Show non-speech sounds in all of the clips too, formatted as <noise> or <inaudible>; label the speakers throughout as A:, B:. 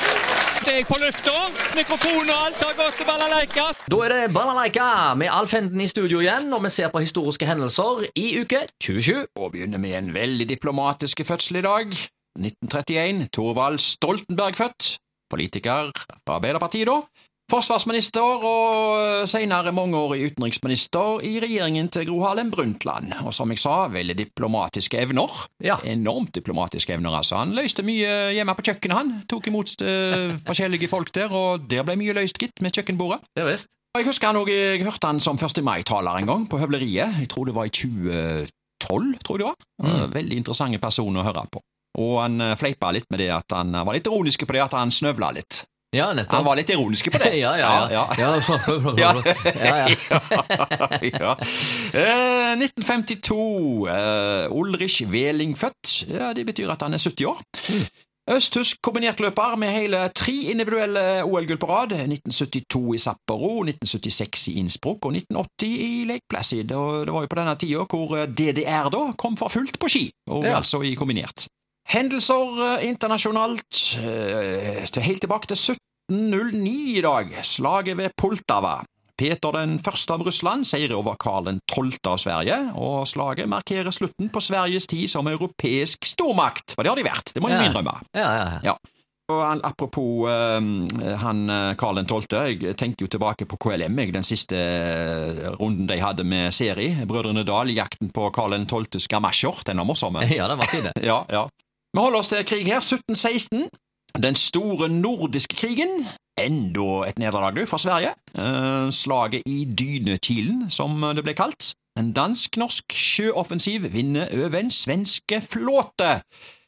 A: Snart er jeg på lufta. Mikrofon og alt har gått til balalaika.
B: Da er det Balalaika med Alf Henden i studio igjen, og vi ser på historiske hendelser i uke 27.
A: Og begynner med en veldig diplomatiske fødsel i dag. 1931, Thorvald Stoltenberg født. Politiker fra Arbeiderpartiet, da. Forsvarsminister og senere mangeårig utenriksminister i regjeringen til Gro Harlem Brundtland. Og som jeg sa, veldig diplomatiske evner.
B: Ja.
A: Enormt diplomatiske evner, altså. Han løste mye hjemme på kjøkkenet, han. Tok imot eh, forskjellige folk der, og der ble mye løst, gitt, med kjøkkenbordet.
B: Det er visst.
A: Og Jeg husker han også, jeg hørte han som 1. mai-taler en gang på høvleriet. Jeg tror det var i 2012. tror jeg det var. Eh, Veldig interessante person å høre på. Og han eh, fleipa litt med det at han eh, var litt ironisk på det at han snøvla litt.
B: Ja,
A: Han
B: nettopp.
A: var litt ironisk på det.
B: <laughs> Ja, ja, ja.
A: <laughs> ja.
B: ja. ja. ja, ja.
A: <laughs> ja. Eh, 1952. Eh, Ulrich Wæling født. Ja, det betyr at han er 70 år. Østtysk kombinertløper med hele tre individuelle OL-gull på rad. 1972 i Sapporo, 1976 i Innsbruck og 1980 i Lake Placid. Og det var jo på denne tida hvor eh, DDR da kom for fullt på ski, og
B: Ja.
A: altså i kombinert. Hendelser eh, internasjonalt eh, til- helt tilbake til 1709 i dag. Slaget ved Poltava. Peter den første av Russland seirer over Karl den tolvte av Sverige, og slaget markerer slutten på Sveriges tid som europeisk stormakt, for det har de vært, det må jeg
B: Ja.
A: innrømme.
B: Ja, ja, ja.
A: Ja. Og han, apropos eh, han eh, Karl 12., jeg tenker jo tilbake på KLM, jeg, den siste eh, runden de hadde med seri, Brødrene Dal, i jakten på Karl 12.s gamasjer, den er morsom.
B: Ja, det var fint, det.
A: Ja, ja. Vi holder oss til krig her, 1716. Den store nordiske krigen. Enda et nederlag, du, for Sverige. Eh, slaget i Dynekilen, som det ble kalt. En dansk-norsk sjøoffensiv vinner over en svenske flåte.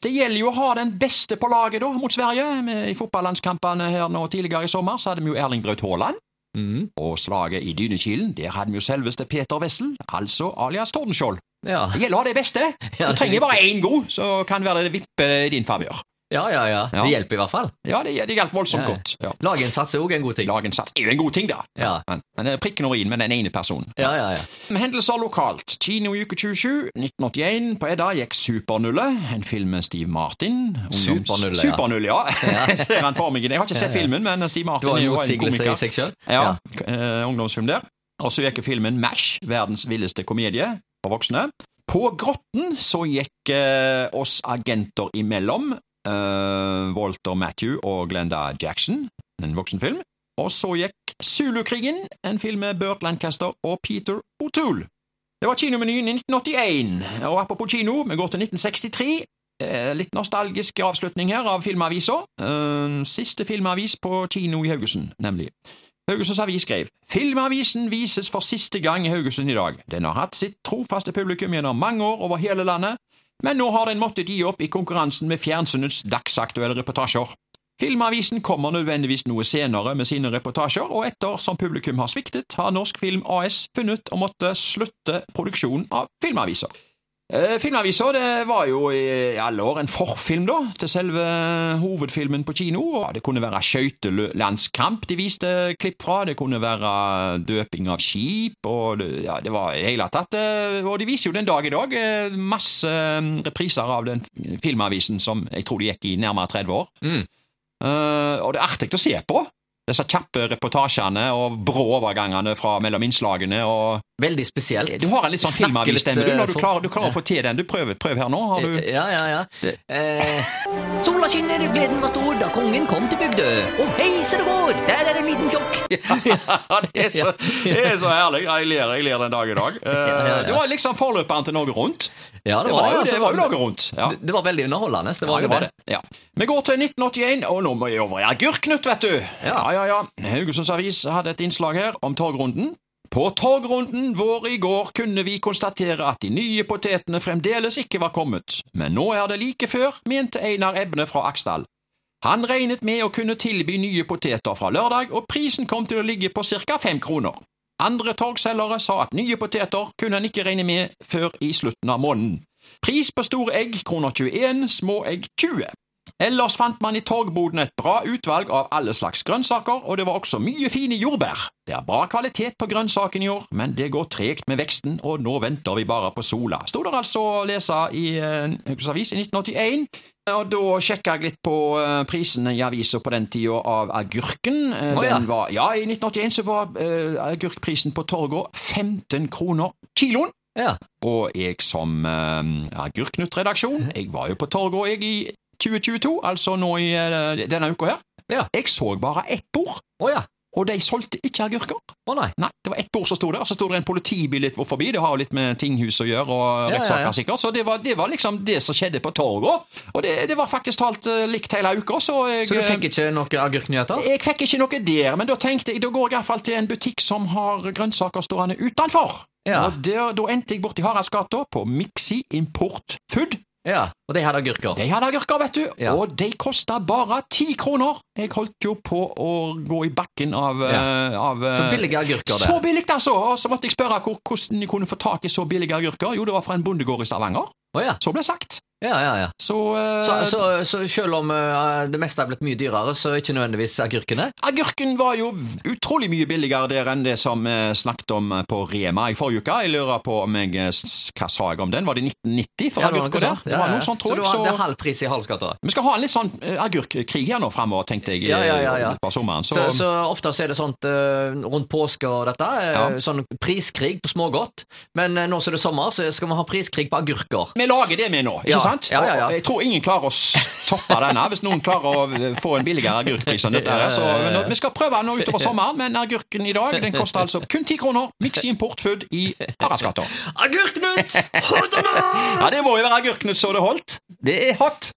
A: Det gjelder jo å ha den beste på laget da, mot Sverige. Med- I fotballandskampene her nå tidligere i sommer så hadde vi jo Erling Braut Haaland.
B: Mm.
A: Og slaget i Dynekilen, der hadde vi jo selveste Peter Wessel, altså alias Tordenskjold.
B: Ja.
A: Det gjelder å ha det beste.
B: <laughs> Ja,
A: Du trenger bare én god, så kan være det vipper i din favør.
B: ja, ja, ja.
A: Ja.
B: Det hjelper i hvert fall.
A: Ja, det, det hjalp voldsomt
B: Ja, ja.
A: godt. Ja.
B: Laginnsats er òg en god ting.
A: Laginnsats er jo en god ting, da.
B: Ja.
A: Men, men det er prikken over i-en med den ene personen.
B: Ja, ja, ja.
A: Hendelser lokalt. Kino i uke 27, 1981. På Edda gikk Supernulle, en film med Steve Martin. Ungdoms-
B: Supernulle, ja.
A: Supernulle, ja. Jeg <laughs> ser han for meg. Jeg har ikke sett filmen, men Steve
B: Det
A: Martin
B: var
A: er
B: en
A: jo en
B: motsigelse i
A: komiker.
B: seg sjøl.
A: Ja, eh, ungdomsfilm der. Og så gikk filmen MASH, verdens villeste komedie for voksne. På Grotten så gikk eh, oss agenter imellom, eh, Walter Matthew og Glenda Jackson, en voksenfilm. Og så gikk Zulukrigen, en film med Burt Lancaster og Peter O'Toole. Det var kinomenyen i 1981, og apropos kino, vi går til 1963. Eh, litt nostalgisk avslutning her av filmavisa. Eh, siste filmavis på kino i Haugesund, nemlig. Haugesunds Avis skrev Filmavisen vises for siste gang i Haugesund i dag. Den har hatt sitt trofaste publikum gjennom mange år over hele landet, men nå har den måttet gi opp i konkurransen med fjernsynets dagsaktuelle reportasjer. Filmavisen kommer nødvendigvis noe senere med sine reportasjer, og etter som publikum har sviktet, har Norsk Film AS funnet å måtte slutte produksjonen av filmaviser. Eh, Filmavisa det var jo i alle år en forfilm da, til selve hovedfilmen på kino. og Det kunne være skøytelandskamp de viste klipp fra, det kunne være døping av skip og det, ja, det var i det hele tatt eh, Og de viser jo den dag i dag eh, masse eh, repriser av den f- filmavisen som jeg tror de gikk i nærmere 30 år.
B: Mm.
A: Eh, og det er artig å se på. Disse kjappe reportasjene og brå overgangene fra mellom innslagene. og
B: Veldig spesielt.
A: du har en litt sånn
B: Snakke
A: filmavistemme,
B: litt,
A: du.
B: eh,
A: Når du
B: fort. eh,
A: klarer, du klarer å få til den. Du prøver, prøv her nå. Har du
B: Ja, ja, ja. Eh. Sola skinner, gleden var stor da kongen kom til Bygdø. Og hei så det går, der er en liten tjokk.
A: Ja, det er så, <laughs> det er så herlig. Jeg ler, jeg ler den dag i dag. Eh,
B: <laughs> Ja, ja, ja.
A: Det var liksom forløperen til Norge Rundt.
B: Ja,
A: Det var jo,
B: altså,
A: det var jo Norge Rundt. Ja.
B: Det, det var veldig underholdende. Det
A: Ja,
B: var,
A: det var det. Ja. Vi går til 1981, og nå må jeg over i agurknytt, vet du. Ja, ja, ja. Haugesunds Avis hadde et innslag her om torgrunden. På torgrunden vår i går kunne vi konstatere at de nye potetene fremdeles ikke var kommet, men nå er det like før, mente Einar Ebne fra Aksdal. Han regnet med å kunne tilby nye poteter fra lørdag, og prisen kom til å ligge på ca. fem kroner. Andre torgselgere sa at nye poteter kunne han ikke regne med før i slutten av måneden. Pris på store egg kroner 21, små egg 20. Ellers fant man i torgbodene et bra utvalg av alle slags grønnsaker, og det var også mye fine jordbær. Det er bra kvalitet på grønnsaken i år, men det går tregt med veksten, og nå venter vi bare på sola, sto det altså å lese i eh, Haugesunds Avis i 1981. Og da sjekka jeg litt på eh, prisene i avisa på den tida av agurken. Eh,
B: Å, ja.
A: Den var, ja, I 1981 så var eh, agurkprisen på torga 15 kroner kiloen.
B: Ja.
A: Og jeg som eh, agurknuttredaksjon, jeg var jo på Torgå jeg i 2022, altså nå i eh, denne uka her.
B: Ja.
A: Jeg så bare ett bord,
B: Å ja.
A: og de solgte ikke agurker.
B: Å nei.
A: Nei, det var ett bord som sto der, og så sto det en politibil litt forbi. Det har jo litt med tinghus å gjøre, og
B: Ja,
A: rettssaker
B: ja, ja.
A: sikkert. Så det var, det var liksom det som skjedde på Torgå. Og det, det var faktisk talt eh, likt hele uka, så jeg
B: Så du
A: eh,
B: fikk ikke noen agurknyheter?
A: jeg fikk ikke noe der, men da tenkte jeg da går jeg iallfall til en butikk som har grønnsaker stående utenfor.
B: Ja.
A: Og der, da endte jeg borti Haraldsgata, på Mixi Import Food.
B: Ja. Og de hadde agurker?
A: De hadde agurker, vet du,
B: Ja.
A: og de kosta bare ti kroner. Jeg holdt jo på å gå i bakken av, eh, av eh,
B: Så billige agurker,
A: Så
B: det.
A: billig, altså! Og så måtte jeg spørre hvor, hvordan de kunne få tak i så billige agurker. Jo, det var fra en bondegård i Stavanger.
B: Å ja.
A: Så ble det sagt.
B: Ja, ja, ja.
A: Så, eh,
B: Så, så, så selv om eh, det meste er blitt mye dyrere, så ikke nødvendigvis agurkene?
A: Agurken var jo v- utrolig mye billigere der enn det som eh, snakket om eh, på Rema i forrige uke. Jeg lurer på om jeg eh, s- Hva sa jeg om den? Var det 1990 for
B: Ja, det var
A: agurker
B: noe
A: der?
B: sånt.
A: Det
B: Ja,
A: var
B: ja,
A: noe
B: ja.
A: sånt, tror
B: Så
A: jeg.
B: du hadde
A: Så
B: halv pris i Halsgata?
A: vi skal ha en litt sånn eh, agurkkrig her nå framover, tenkte jeg. eh,
B: Ja, ja, ja, ja.
A: På sommeren. Så,
B: Så, så ofte så er det sånt eh, rundt påske og dette, eh,
A: Ja.
B: sånn priskrig på smågodt. Men eh, nå som det er sommer, så skal vi ha priskrig på agurker.
A: eh, vi lager det med nå, ikke
B: Ja,
A: sant?
B: ja, ja, ja.
A: Og Jeg tror ingen klarer å stoppe denne, hvis noen klarer å eh, få en billigere agurkpris enn dette. her. Så men nå- vi skal prøve nå utover sommeren, men agurken i dag den koster altså kun ti kroner. Mix importfood i Haraldsgata. <laughs>
B: Agurknut! Hodana!
A: Ja, det må jo være agurknut så det holdt. Det er hot.